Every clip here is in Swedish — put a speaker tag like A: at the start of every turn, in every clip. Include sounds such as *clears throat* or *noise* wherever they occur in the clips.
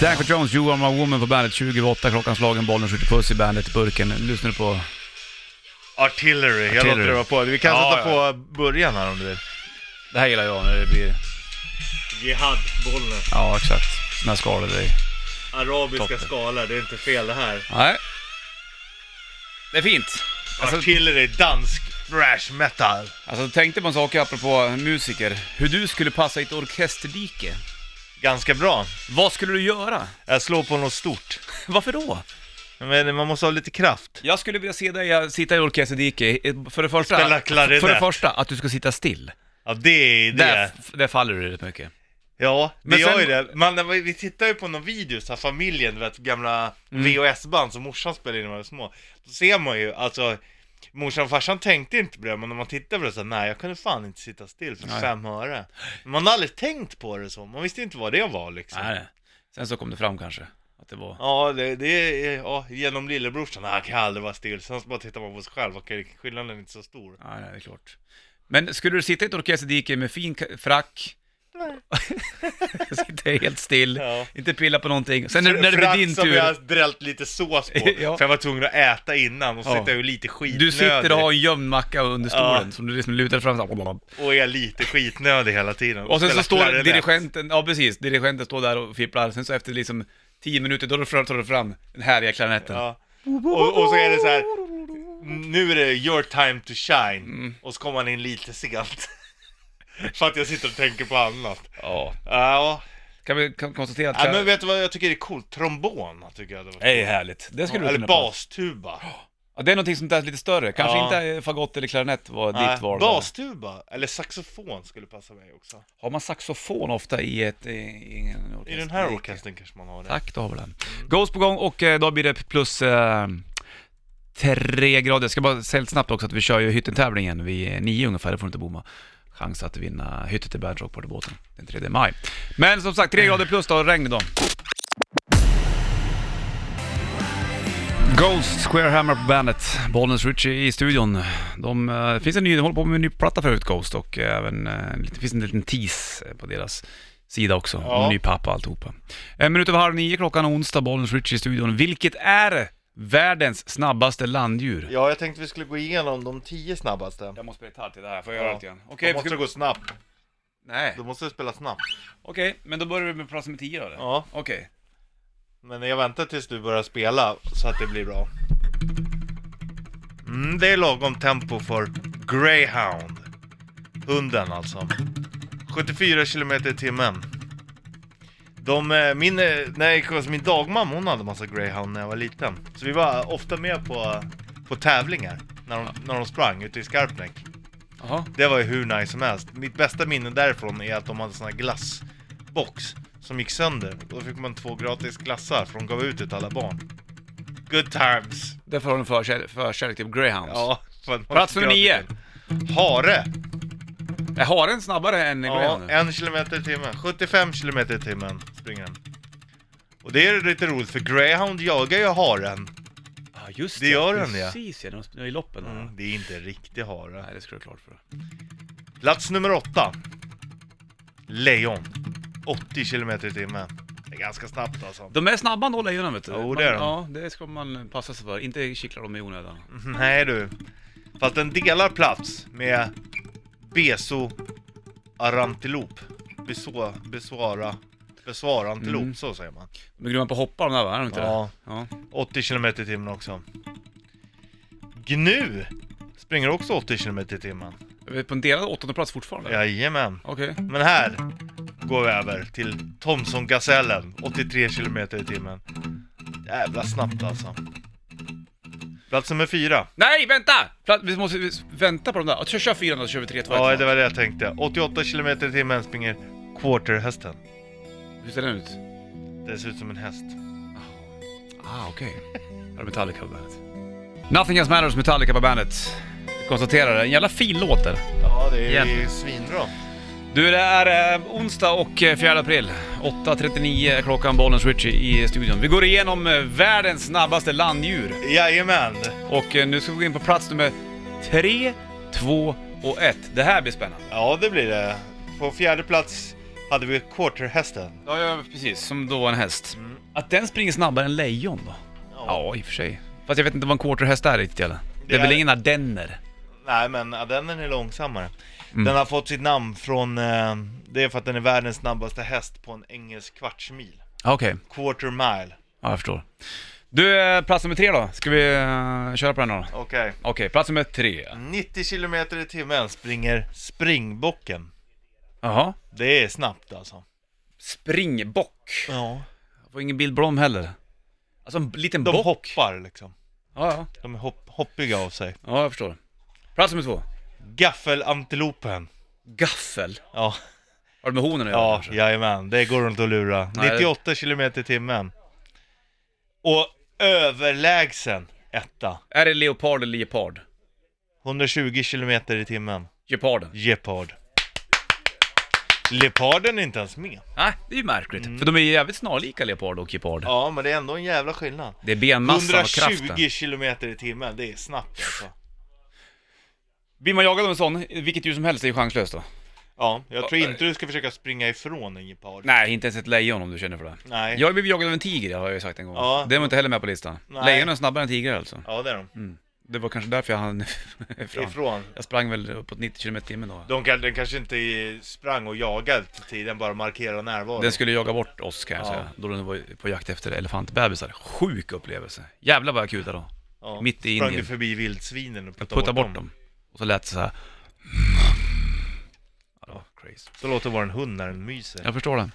A: Danko Jones, You Are My Woman på bandet. 28 klockan slagen, bollen skjuter puss i bandet i burken. Lyssnar du på...
B: Artillery, jag låter
A: Artillery.
B: det vara på. Vi kan
A: Ja,
B: sätta på början här om du vill.
A: Det här gillar jag när det blir...
C: Jihad, Bollnäs.
A: Ja, exakt. Såna här skalor dig.
C: Arabiska
A: Toppen.
C: skalor, det är inte fel det här.
A: Nej. Det är fint. Alltså,
B: Artillery, dansk thrash metal.
A: alltså tänkte på en sak apropå musiker. Hur du skulle passa i ett orkesterdike.
B: Ganska bra.
A: Vad skulle du göra? *laughs*
B: Jag slår på något stort.
A: Varför då?
B: Men man måste ha lite kraft.
A: Jag skulle vilja se dig eh, sitta i orkesterdike, eh, för det första...
B: Spela klarinett.
A: För det första, att du ska sitta still.
B: Ja, det är det.
A: Där, f- där faller du rätt mycket.
B: Ja, det
A: Men
B: gör
A: sen-
B: ju det. Man, när vi vi tittar ju på någon video, så här familjen, du vet gamla
A: Mm.
B: VHS-band som morsan spelade in när man var små. Då ser man ju, alltså, morsan och farsan tänkte inte på det, men när man tittar på det så här, nej jag kunde fan inte sitta still för
A: Nej.
B: fem öre. Man har aldrig tänkt på det så, man visste inte vad det var liksom.
A: Nej. Sen så kom det fram kanske, att det var...
B: Ja, det, det är, ja, genom lillebrorsan, han kan aldrig vara still. Sen så bara tittar man på sig själv, okej skillnaden är inte så stor.
A: Nej, nej, det är klart. Men skulle du sitta i ett orkesterdike med fin ka-
B: *laughs*
A: frack, sitta helt still,
B: Ja.
A: inte pilla på någonting. Sen när, när det blir
B: Frack
A: din
B: som
A: tur,
B: jag har drällt lite sås på,
A: *laughs* Ja.
B: för jag var tvungen att äta innan och så
A: Ja.
B: sitter jag ju lite skitnödig.
A: du sitter och har en gömd macka under stolen
B: Ja.
A: som du liksom lutar fram så här.
B: och är lite skitnödig hela tiden.
A: Och sen
B: Spelar
A: så står
B: klarinett.
A: dirigenten, ja precis, dirigenten står där och fipplar, sen så efter liksom 10 minuter, då tar du fram den härliga klarinetten.
B: Ja. Och, och så är det så här. nu är det your time to shine,
A: Mm.
B: och så kommer han in lite sent. *laughs* För att jag sitter och tänker på annat.
A: Ja.
B: Ja,
A: Kan vi kon- konstatera att...
B: ja men vet du vad jag tycker är coolt? Trombon tycker jag det var.
A: Det är härligt. Det skulle du
B: Eller
A: kunna passa.
B: bastuba.
A: Ja, det är någonting som är lite större. Kanske
B: Ja.
A: inte eh, fagott eller klarinett var
B: Nej,
A: ditt val. där.
B: bastuba, eller saxofon skulle passa mig också.
A: Har man saxofon ofta i, ett, i, i en orkester?
B: I den här orkestern kanske man har det.
A: Tack, då har vi den. Ghost på gång och eh, då blir det plus eh, tre grader. Jag ska bara säga lite snabbt också att vi kör ju hyttentävlingen vid nio ungefär, det får du inte bomma. Chans att vinna hyttet i Bad Rock Partybåten den 3 maj. Men som sagt, tre grader plus då, regn idag. Ghost, Square Hammer på bandet, Bollnäs Ritchie i studion. De, eh, det finns en ny, de håller på med en ny platta förut, Ghost, och även, eh, lite- det finns en liten tease på deras sida också,
B: Ja.
A: om en ny pappa och alltihopa. En minut över halv nio klockan onsdag, Bollnäs Ritchie i studion. Vilket är världens snabbaste landdjur?
B: Ja, jag tänkte vi skulle gå igenom de tio snabbaste.
A: Jag måste spela gitarr till det här, får jag
B: Ja.
A: göra allt igen? Okej,
B: då måste
A: ska...
B: det gå snabbt.
A: Nej.
B: Då måste du spela snabbt.
A: Okej, men då börjar vi med plats nummer 10 då eller?
B: Ja.
A: Okej.
B: Men jag väntar tills du börjar spela så att det blir bra. Mm, det är lagom tempo för Greyhound. Hunden alltså. 74 km i timmen. De, eh, min, eh, nej, alltså min dagmamma hon hade massa greyhound när jag var liten. Så vi var ofta med på, på tävlingar när de, när de sprang ute i Skarpnäck.
A: Jaha.
B: Det var ju hur nice som helst. Mitt bästa minne därifrån är att de hade sån här glassbox som gick sönder. Och då fick man två gratis glassar för de gav ut det till alla barn. Good times!
A: Därför har de förkär- förkärlek till greyhounds.
B: *laughs* Ja, fan,
A: Plats nummer nio.
B: Hare!
A: Är haren snabbare än
B: Ja,
A: greyhound?
B: en kilometer i timmen. 75 kilometer i timmen springer den. Och det är lite roligt för Greyhound jagar ju haren.
A: Ja, just
B: det gör den, ja. Mm.
A: Precis ja, de springer i loppen. där.
B: Det är inte en riktig hare.
A: Nej, det skulle du klart för.
B: Plats nummer åtta. Lejon. 80 kilometer i timmen. Det är ganska snabbt alltså.
A: De är snabba ändå lejonen vet du.
B: Jo, det är de.
A: Ja, det ska man passa sig för. Inte kittla dem i onödan.
B: Nej Mm, du. Fast den delar plats med Beso arantilop. Beso, besvara, besvarantilop,
A: Mm.
B: så säger man.
A: De är grymma på att hoppa de där va? Är de inte
B: Ja.
A: det? Ja.
B: 80 km i timmen också. Gnu springer också 80 km i timmen.
A: Är vi på en delad åttonde plats fortfarande?
B: Jajamän.
A: Okej.
B: Men här går vi över till Thomson-gasellen, 83 km i timmen. Jävla snabbt alltså. Plats nummer fyra.
A: Nej, vänta! Pla- Vi måste vi vänta på de där. Kör, kör fyran då, så kör vi tre, två,
B: Ja,
A: ett.
B: det var det jag tänkte. 88 km i timmen springer quarterhästen.
A: Hur ser den ut?
B: Det ser ut som en häst.
A: Ah,
B: *laughs*
A: okej. Okay. Är Metallica på bandet? Nothing Else Matters, Metallica på bandet. Jag Konstaterar det. En jävla fin låt där.
B: Ja, det
A: Igen.
B: ju svinbra.
A: Du, det är eh, onsdag och eh, 4 april. 8.39 är klockan, Bollnäs Ritchie i studion. Vi går igenom eh, världens snabbaste landdjur.
B: Jajamän!
A: Och eh, nu ska vi gå in på plats nummer 3, 2 och 1. Det här blir spännande.
B: Ja, det blir det. På fjärde plats hade vi quarterhästen.
A: Ja, ja, precis. Som då var en häst. Att den springer snabbare än lejon då? Ja, i och för sig. Fast jag vet inte vad en quarterhäst är riktigt eller? Det, är
B: Det
A: väl
B: är-
A: ingen ardenner?
B: Nej men ja, den är långsammare.
A: Mm.
B: Den har fått sitt namn från, eh, det är för att den är världens snabbaste häst på en engelsk kvartsmil.
A: Ja, Okej,
B: Quarter mile.
A: ja, jag förstår. Du, eh, plats nummer tre då. Ska vi eh, köra på den då? Okej,
B: Okej.
A: plats nummer tre.
B: 90 km i timmen springer springbocken.
A: Jaha.
B: Det är snabbt alltså.
A: Springbock.
B: Ja.
A: Jag får ingen bild på dem heller. Alltså en liten
B: De
A: bock.
B: hoppar liksom.
A: Ja, ja.
B: De är hopp- hoppiga av sig.
A: ja, jag förstår. Plats nummer två.
B: Gaffelantilopen.
A: Gaffel.
B: Ja,
A: Har du med honen att göra
B: ja
A: kanske?
B: jajamän. Det går inte att lura.
A: Nej, det-
B: 98 km i timmen. Och överlägsen etta.
A: Är det leopard eller leopard?
B: 120 km i timmen.
A: Geparden.
B: Gepard. Leoparden är inte ens med.
A: Nej, det är ju märkligt.
B: Mm.
A: För de är ju jävligt snarlika leopard och gepard.
B: Ja, men det är ändå en jävla skillnad.
A: Det är benmassan och kraften.
B: 120 km i timmen, det är snabbt alltså.
A: Blir man jagad av en sån, vilket djur som helst är ju chanslöst då.
B: Ja, jag tror
A: Ja,
B: inte du ska försöka springa ifrån en gepard.
A: Nej, inte ens ett lejon om du känner för det.
B: Nej.
A: Jag har blivit jagad av en tiger har jag ju sagt en gång.
B: Ja.
A: Det var inte heller med på listan.
B: Nej.
A: Lejon är snabbare än tigrar alltså.
B: Ja, det är de.
A: Det var kanske därför jag hann *laughs* fram.
B: Ifrån.
A: Jag sprang väl uppåt 90 km i timmen då.
B: De kan, den kanske inte sprang och jagade till tiden, bara markera närvaro.
A: Den skulle jaga bort oss kan jag
B: Ja.
A: säga, då den var på jakt efter elefantbebisar. Sjuk upplevelse. Jävlar vad jag kutade då.
B: ja.
A: mitt i
B: Sprang
A: Indien.
B: du förbi vildsvinen och
A: Jag
B: puttade,
A: puttade bort dem. Och så lät det så här. Ja, det var crazy.
B: Så låter vår en hund när den myser.
A: Jag förstår det.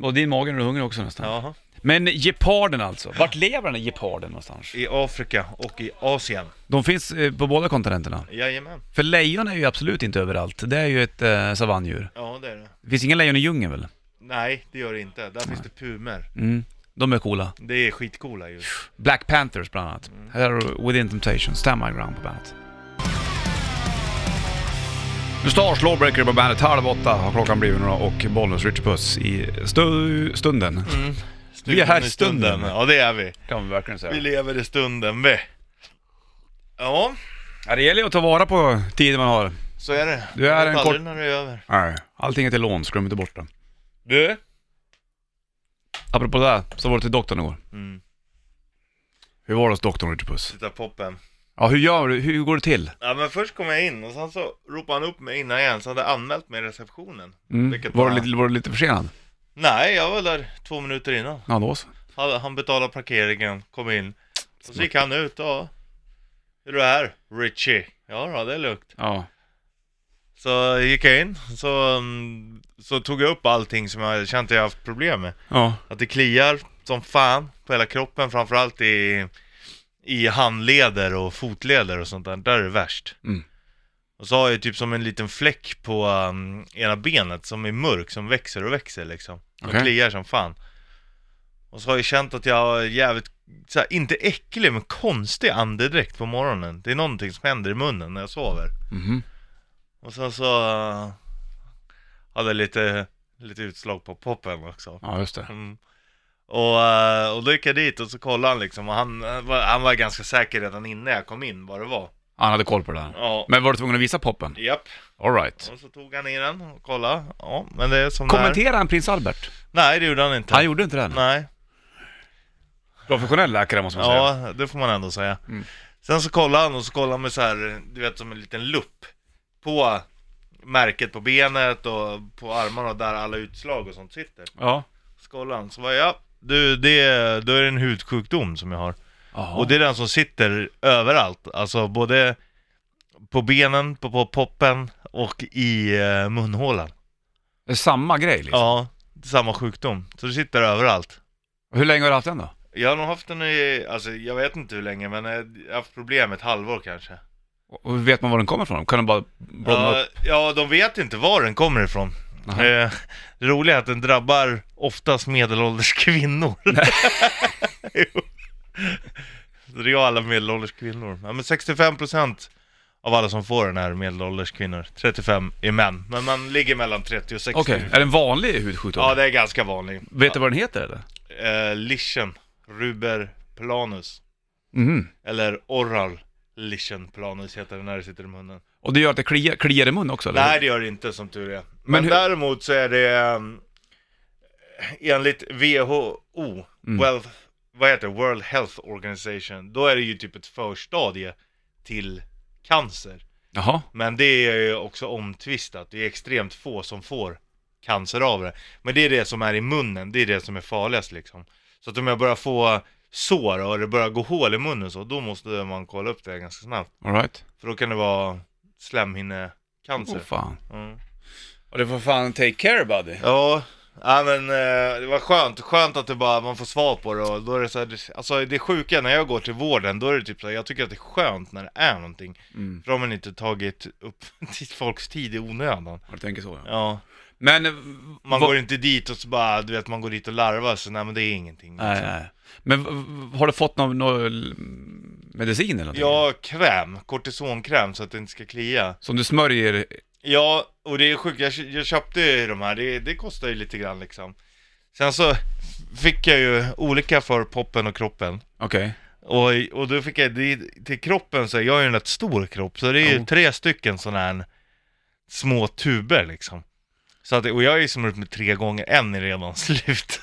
A: Och din mage när du är hungrig också nästan.
B: Jaha.
A: Men geparden alltså, vart lever den här geparden någonstans?
B: I Afrika och i Asien.
A: De finns eh, på båda kontinenterna.
B: Jajamän.
A: För lejon är ju absolut inte överallt, det är ju ett eh, savanndjur.
B: Ja, det är det.
A: Det finns inga lejon i djungeln väl?
B: Nej, det gör det inte. Där finns det pumer.
A: Mm. De är coola.
B: Det är skitcoola ju.
A: Black Panthers bland annat. Här har du Within Temptation, Stand My Ground på bandet. The Stars Lawbreaker på bandet, halv åtta har klockan blivit nu då, och Bollnäs Richard Puss i stu stunden. Vi är här i stunden.
B: Ja, det är vi.
A: Mm. Kan man verkligen
B: Vi
A: säga.
B: lever i stunden, vi. Ja,
A: Ja, det gäller ju att ta vara på tiden man har.
B: så är det.
A: Du är
B: Jag vet
A: en
B: aldrig
A: kort-
B: när det är över.
A: Nej, allting är till lån, skrum inte bort det.
B: Du?
A: Apropå det, här, så var du till doktorn igår.
B: Mm.
A: Hur var det hos doktorn Richard Puss?
B: Titta poppen.
A: Ja, hur gör du? Hur går det till?
B: Ja men först kom jag in och sen så ropade han upp mig innan jag ens hade anmält mig i receptionen.
A: Mm.
B: Vilket
A: Var,
B: var-
A: du lite, var du lite försenad?
B: Nej, jag var där två minuter innan.
A: Ja, då så.
B: Han, han betalade parkeringen, kom in. Och så gick han ut och... Hur är det här? Richie? Ja då, det är lugnt.
A: Ja.
B: Så gick jag in, så, mm, så tog jag upp allting som jag känt att jag haft problem med.
A: Ja.
B: Att det kliar som fan på hela kroppen, framförallt i, i handleder och fotleder och sånt där. Där är det värst.
A: Mm.
B: Och så har jag typ som en liten fläck på um, ena benet som är mörk, som växer och växer liksom. Och
A: Okej.
B: kliar som fan. Och så har jag känt att jag är jävligt, så här, inte äcklig men konstig andedräkt på morgonen. Det är någonting som händer i munnen när jag sover.
A: Mhm.
B: Och sen så uh, hade jag lite, lite utslag på poppen också.
A: Ja, just det.
B: Mm. Och, eh, och då gick jag dit och så kollade han liksom och han, eh, var, han var ganska säker redan innan jag kom in vad det var.
A: Han hade koll på det där.
B: Ja.
A: Men var du tvungen att visa poppen?
B: Japp.
A: Alright.
B: Och så tog han i den och kollade. Ja, men det är som det är.
A: Kommenterade han prins Albert?
B: Nej, det gjorde han inte.
A: Han gjorde inte det? Nej.
B: Nej.
A: Professionell läkare måste man säga.
B: Ja, det får man ändå säga.
A: Mm.
B: Sen så kollade han och så kollade han med så här, du vet som en liten lupp på märket på benet och på armarna och där alla utslag och sånt sitter.
A: Ja.
B: Så kollade han, så var jag, du det, då är det en hudsjukdom som jag har.
A: Jaha.
B: Och det är den som sitter överallt, alltså både på benen, på, på poppen och i eh, munhålan.
A: Det är samma grej liksom.
B: Ja, samma sjukdom. Så det sitter överallt.
A: Hur länge har du haft den då?
B: Jag har nog haft den i, alltså jag vet inte hur länge men jag har haft problem ett halvår kanske.
A: Och och vet man var den kommer ifrån? Kan den bara blomma upp?
B: Ja, ja, de vet inte var den kommer ifrån.
A: Aha.
B: Eh, det roliga är att den drabbar oftast medelålders
A: *laughs*
B: kvinnor. *laughs* Jo. Så det är alla medelålders kvinnor. Ja, men 65% av alla som får den är medelålders kvinnor. 35 är män. Men man ligger mellan 30 och 60.
A: Okej, är det en vanlig hudsjukdom?
B: Ja, det är ganska vanligt.
A: Vet du vad den heter eller?
B: Eh, Lichen, Ruber planus.
A: Mhm.
B: Eller oral lichen planus heter det när det sitter i munnen.
A: Och det gör att det kliar, kliar i munnen också? Eller?
B: Nej det gör det inte som tur är. Men,
A: hur-
B: däremot så är det, eh, enligt WHO,
A: Mm.
B: Wealth, vad heter det? World Health Organization, då är det ju typ ett förstadie till cancer.
A: Jaha,
B: Men det är ju också omtvistat, det är extremt få som får cancer av det. Men det är det som är i munnen, det är det som är farligast liksom. Så att om jag börjar få sår och det börjar gå hål i munnen så, då måste man kolla upp det ganska snabbt.
A: alright.
B: För då kan det vara
A: Åh
B: slemhinnecancer.
A: fan.
B: Mm.
A: Och du får fan take care buddy.
B: Ja, ja men eh, det var skönt. Skönt att det bara, man får svar på det och då är det så här, det- alltså det sjuka när jag går till vården, då är det typ så här, jag tycker att det är skönt när det är någonting.
A: Mm.
B: För då har man inte tagit upp *laughs* till folks tid i onödan.
A: Ja, Du tänker så ja.
B: Ja,
A: Men... eh,
B: man
A: vad-
B: går inte dit och så bara, du vet man går dit och larvar så nej men det är ingenting.
A: Nej,
B: liksom.
A: nej. Men v- v- har du fått någon, någon l- medicin eller någonting?
B: Ja, kräm, kortisonkräm så att det inte ska klia.
A: Som du smörjer?
B: Ja, och det är sjukt, jag, kö- jag köpte ju de här, det, det kostar ju lite grann liksom. Sen så fick jag ju olika för poppen och kroppen.
A: Okej.
B: Och, och då fick jag, det, till kroppen så, jag har ju en rätt stor kropp, så det är ju
A: Jo.
B: tre stycken sådana här små tuber liksom. Så att, och jag är ju som upp med tre gånger, en är redan *laughs* slut.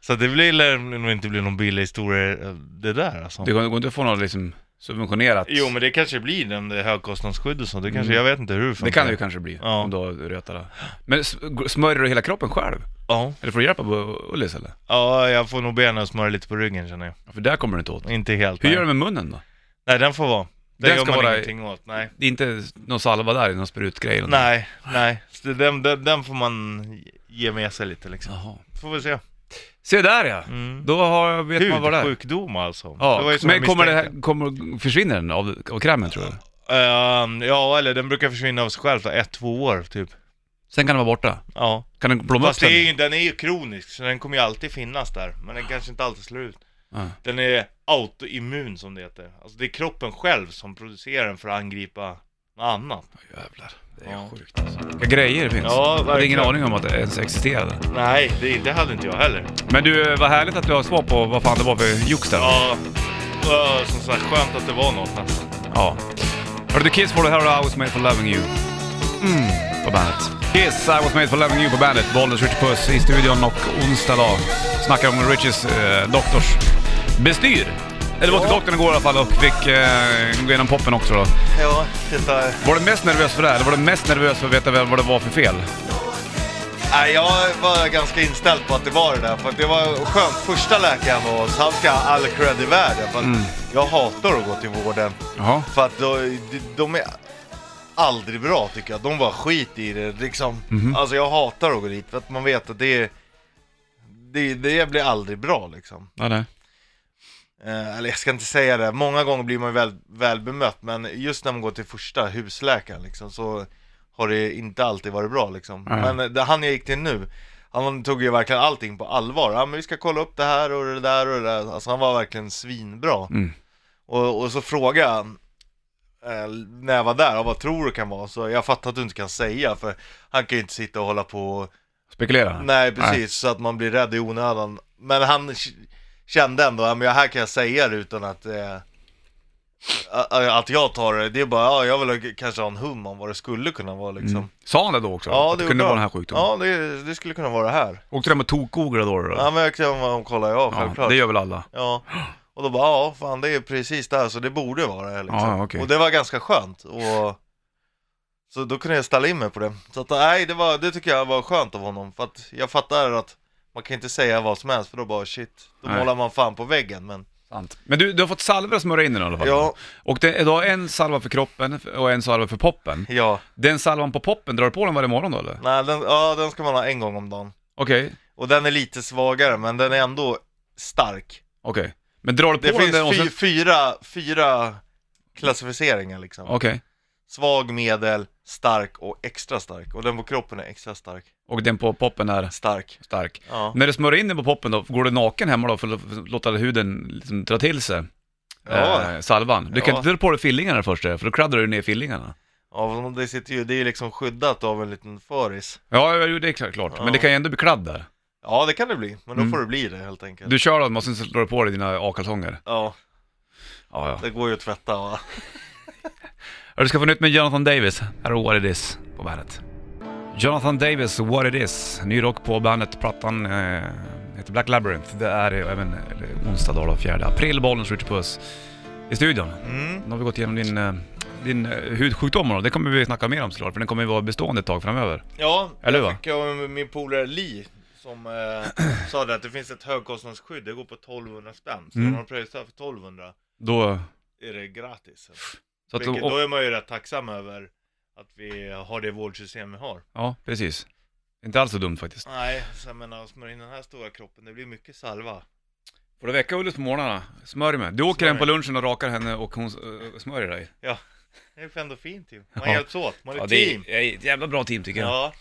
B: så att det blir lär nog inte bli någon billig historia eh, det där alltså.
A: Det går går inte att få något liksom subventionerat?
B: Jo men det kanske blir den det högkostnadsskydd och så, det kanske,
A: Mm.
B: jag vet inte hur
A: det kan det ju kanske bli,
B: Ja.
A: om du har rötare. Men s- g- smörjer du hela kroppen själv?
B: Ja.
A: Eller får du hjälp av U- Ullis eller?
B: ja, jag får nog be henne att smörja lite på ryggen känner jag.
A: Ja, För där kommer du inte åt.
B: Inte helt.
A: Hur
B: nej.
A: gör du med munnen då?
B: Nej den får vara. Det
A: Den
B: gör
A: ska
B: man
A: vara i-
B: ingenting åt, nej.
A: Det är inte någon salva där, någon sprutgrej eller något?
B: Nej, nej. Så Den, den, den får man ge med sig lite liksom.
A: Jaha.
B: Får vi se.
A: Se där ja!
B: Mm.
A: Då har, vet man vad det är.
B: Hudsjukdom alltså. det var
A: Ja,
B: ju som
A: men
B: jag
A: kommer det
B: misstänkte.
A: här, kommer, försvinner den av, av krämen tror du?
B: Ehm, ja, eller den brukar försvinna av sig själv då, ett, två år typ.
A: Sen kan den vara borta?
B: Ja.
A: Kan den blomma upp
B: Fast det
A: sen?
B: är ju, den är ju kronisk, så den kommer ju alltid finnas där. Men den kanske inte alltid slår ut.
A: Ja.
B: Den är autoimmun som det heter. Alltså det är kroppen själv som producerar den för att angripa något annat.
A: Jävlar, det är
B: Ja.
A: sjukt alltså. Vilka grejer det finns.
B: Ja,
A: jag hade ingen
B: verkligen.
A: aning om att det ens existerade.
B: Nej, det, det hade inte jag heller.
A: Men du, eh, vad härligt att du har svar på vad fan det var för jox där.
B: Ja, ja, som sagt skönt att det var något alltså. nästan.
A: ja. Hörde du Kiss får du här och I was made for loving you. Mm, på bandet. Kiss, I was made for loving you på bandet. Bollnäs, Richard Puss i studion och onsdag dag. Snackar om Richies eh, doktorsbestyr. Eller var till doktorn igår i alla fall och fick eh, gå igenom poppen också då.
B: Ja, titta.
A: Var du mest nervös för det här eller var du mest nervös för att veta vem- vad det var för fel?
B: Nej, jag var ganska inställd på att det var det där, för att det var skönt. Första läkaren var hos, han ska ha all cred i världen. För att Jag hatar att gå till vården,
A: Jaha.
B: för att då, de, de är aldrig bra tycker jag. De bara skit i det liksom. Alltså jag hatar att gå dit, för att man vet att det är, det, det blir aldrig bra liksom.
A: Ja, nej.
B: Eh, eller jag ska inte säga det, många gånger blir man ju väl, väl bemött, men just när man går till första husläkaren liksom, så har det inte alltid varit bra liksom.
A: Nej.
B: Men eh, det, han jag gick till nu, han tog ju verkligen allting på allvar. Ja men vi ska kolla upp det här och det där och det där. Alltså han var verkligen svinbra.
A: Mm.
B: Och, och så frågade han, eh, när jag var där, "Ja, vad tror du kan vara? Så jag fattar att du inte kan säga, för han kan ju inte sitta och hålla på och
A: Spekulera.
B: Nej precis, så att man blir rädd i onödan. Men han k- kände ändå, ja, men här kan jag säga det utan att eh, a- a- att jag tar det, det är bara, ja jag vill ha- kanske ha en hum om vad det skulle kunna vara
A: Mm.
B: liksom.
A: Sa han det då också?
B: Ja,
A: att det
B: är
A: kunde
B: bra.
A: vara den här sjukdomen?
B: Ja, det, det skulle kunna vara det här.
A: Åkte de och tokgooglade då? då?
B: Ja, men jag kan man kolla, ja självklart.
A: det gör väl alla.
B: Ja. Och då bara, ja fan det är precis där, så det borde vara det här, liksom.
A: Ja, okej.
B: Och det var ganska skönt. Och... Så då kunde jag ställa in mig på det. Så att, nej, det, var, det tycker jag var skönt av honom. För att jag fattar att man kan inte säga vad som helst, för då bara shit, då
A: Nej.
B: målar man fan på väggen. Men
A: Sant. Men du, du har fått salvor att smörja in den i alla fall?
B: ja,
A: Och det, du har en salva för kroppen och en salva för poppen.
B: ja,
A: Den salvan på poppen, drar du på den varje morgon då eller?
B: nej, den, ja, den ska man ha en gång om dagen.
A: Okej,
B: Och den är lite svagare, men den är ändå stark.
A: okej. Men drar du på
B: Det
A: den
B: finns
A: där och
B: fy,
A: sen...
B: fyra, fyra klassificeringar liksom.
A: Okej.
B: Svag, medel, stark och extra stark. Och den på kroppen är extra stark.
A: Och den på poppen är
B: Stark.
A: stark.
B: Ja.
A: När du smörjer in den på poppen då, går du naken hemma då för att låta huden liksom dra till sig
B: Ja.
A: eh, salvan? Du kan
B: Ja.
A: inte dra på dig fillingarna först eh, för då kladdar du ner fillingarna.
B: Ja, men det sitter ju, det är ju liksom skyddat av en liten föris.
A: Ja, jo, det är klart. klart. Men
B: Ja.
A: det kan ju ändå bli kladd där.
B: Ja, det kan det bli, men då
A: Mm.
B: får det bli det helt enkelt.
A: Du kör dem och sen så slår du på dig dina A-kalsonger.
B: Ja,
A: Ja, ja.
B: det går ju att tvätta va.
A: Ja, Du ska få nytt med Jonathan Davis. Här är What It Is på bandet. Jonathan Davis, What It Is. Ny rock på bandet. Plattan eh, heter Black Labyrinth. Det är eh, även eh, onsdag dag då, 4 april. Bollnäs Ritchie Puss i studion.
B: Mm.
A: Nu har vi gått igenom din, eh, din eh, hudsjukdom då. Det kommer vi snacka mer om såklart, för den kommer ju vara bestående ett tag framöver.
B: Ja,
A: Eller
B: jag
A: va?
B: fick jag med min polare Li som eh, *clears throat* sa det att det finns ett högkostnadsskydd, det går på 1200 spänn. Så
A: Mm.
B: om man pröjsar för 1200
A: Då...
B: är det gratis.
A: Så att,
B: Vilket,
A: och,
B: då är man ju rätt tacksam över att vi har det vårdsystem vi har.
A: ja, precis. Inte alls så dumt faktiskt.
B: Nej, så jag menar, smörja in den här stora kroppen, det blir mycket salva.
A: Får du väcka Ullis på morgnarna? Smörj mig. Du åker
B: Smörj.
A: hem på lunchen och rakar henne och hon eh, smörjer dig.
B: Ja, det är ändå fint ju. Man
A: Ja.
B: hjälps åt, man är
A: Ja,
B: ett
A: det
B: team.
A: är, är ett jävla bra team tycker jag.
B: Ja.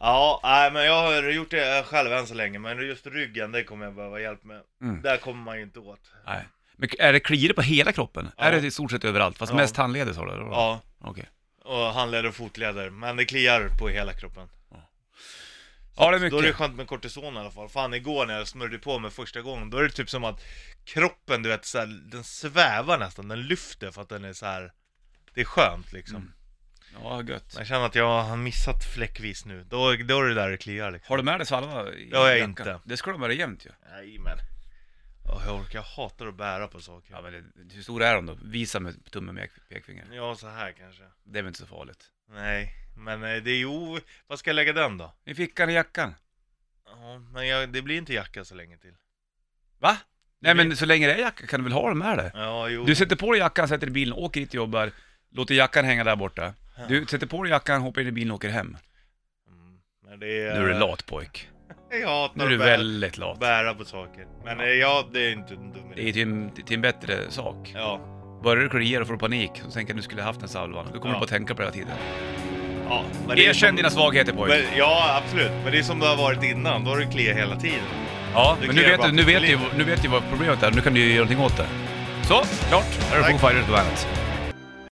B: Ja, nej men jag har gjort det själv än så länge, men just ryggen, det kommer jag behöva hjälp med.
A: Mm.
B: Där kommer man ju inte åt.
A: Nej. Men är det kliar det på hela kroppen?
B: Ja.
A: Är det i stort sett överallt? Fast
B: Ja.
A: mest handledes har du? eller?
B: Ja,
A: Okej.
B: och handleder och fotleder, men det kliar på hela kroppen.
A: Ja, det är
B: Då är det
A: mycket.
B: skönt med kortison i alla fall. Fan igår när jag smörjde på mig första gången, då är det typ som att kroppen, du vet, så här, den svävar nästan, den lyfter för att den är så här. Det är skönt liksom.
A: Mm. Ja, gött.
B: Men Jag känner att jag har missat fläckvis nu. Då, då är det där det kliar liksom.
A: Har du med dig salva i
B: Det har jag
A: jackan?
B: inte.
A: Det ska du ha med dig jämt ju.
B: Nej men. Ja, jag orkar, jag hatar att bära på saker.
A: Ja, men det, hur stora är de då? Visa med tummen med pekfingret.
B: Ja, så här kanske.
A: Det är väl inte så farligt.
B: Nej, men eh, det är ju... Vad ska jag lägga den då?
A: I fickan i jackan.
B: Ja, men jag, det blir inte jacka så länge till.
A: Va? Nej
B: blir-
A: men så länge det är jacka kan du väl ha den med dig?
B: Ja, jo.
A: Du sätter på dig jackan, sätter i bilen, åker hit och jobbar, låter jackan hänga där borta. Du sätter på dig jackan, hoppar in i bilen och åker hem.
B: Mm, men det är...
A: Nu är du lat pojk.
B: Jag hatar
A: Nu är du
B: att bära,
A: väldigt lat.
B: bära på saker. Men eh, ja, det är inte en dum
A: Det är
B: idé.
A: till en, till en bättre sak.
B: Ja,
A: Börjar du klia och får du panik, så tänker jag att du skulle haft en salvan. Då kommer
B: Ja.
A: du bara tänka på det hela tiden.
B: ja. Men det är
A: Erkänn
B: som-
A: dina svagheter pojk.
B: Men, ja, absolut. Men det är som det har varit innan, då har det kliat hela tiden.
A: Ja,
B: det
A: men nu
B: kliar
A: vet,
B: bara
A: du, nu,
B: på
A: vet du,
B: lite.
A: nu vet du vad problemet är. Nu kan du ju göra någonting åt det. Så, klart. Här är
B: Tack.
A: Foo Fighters på bandet.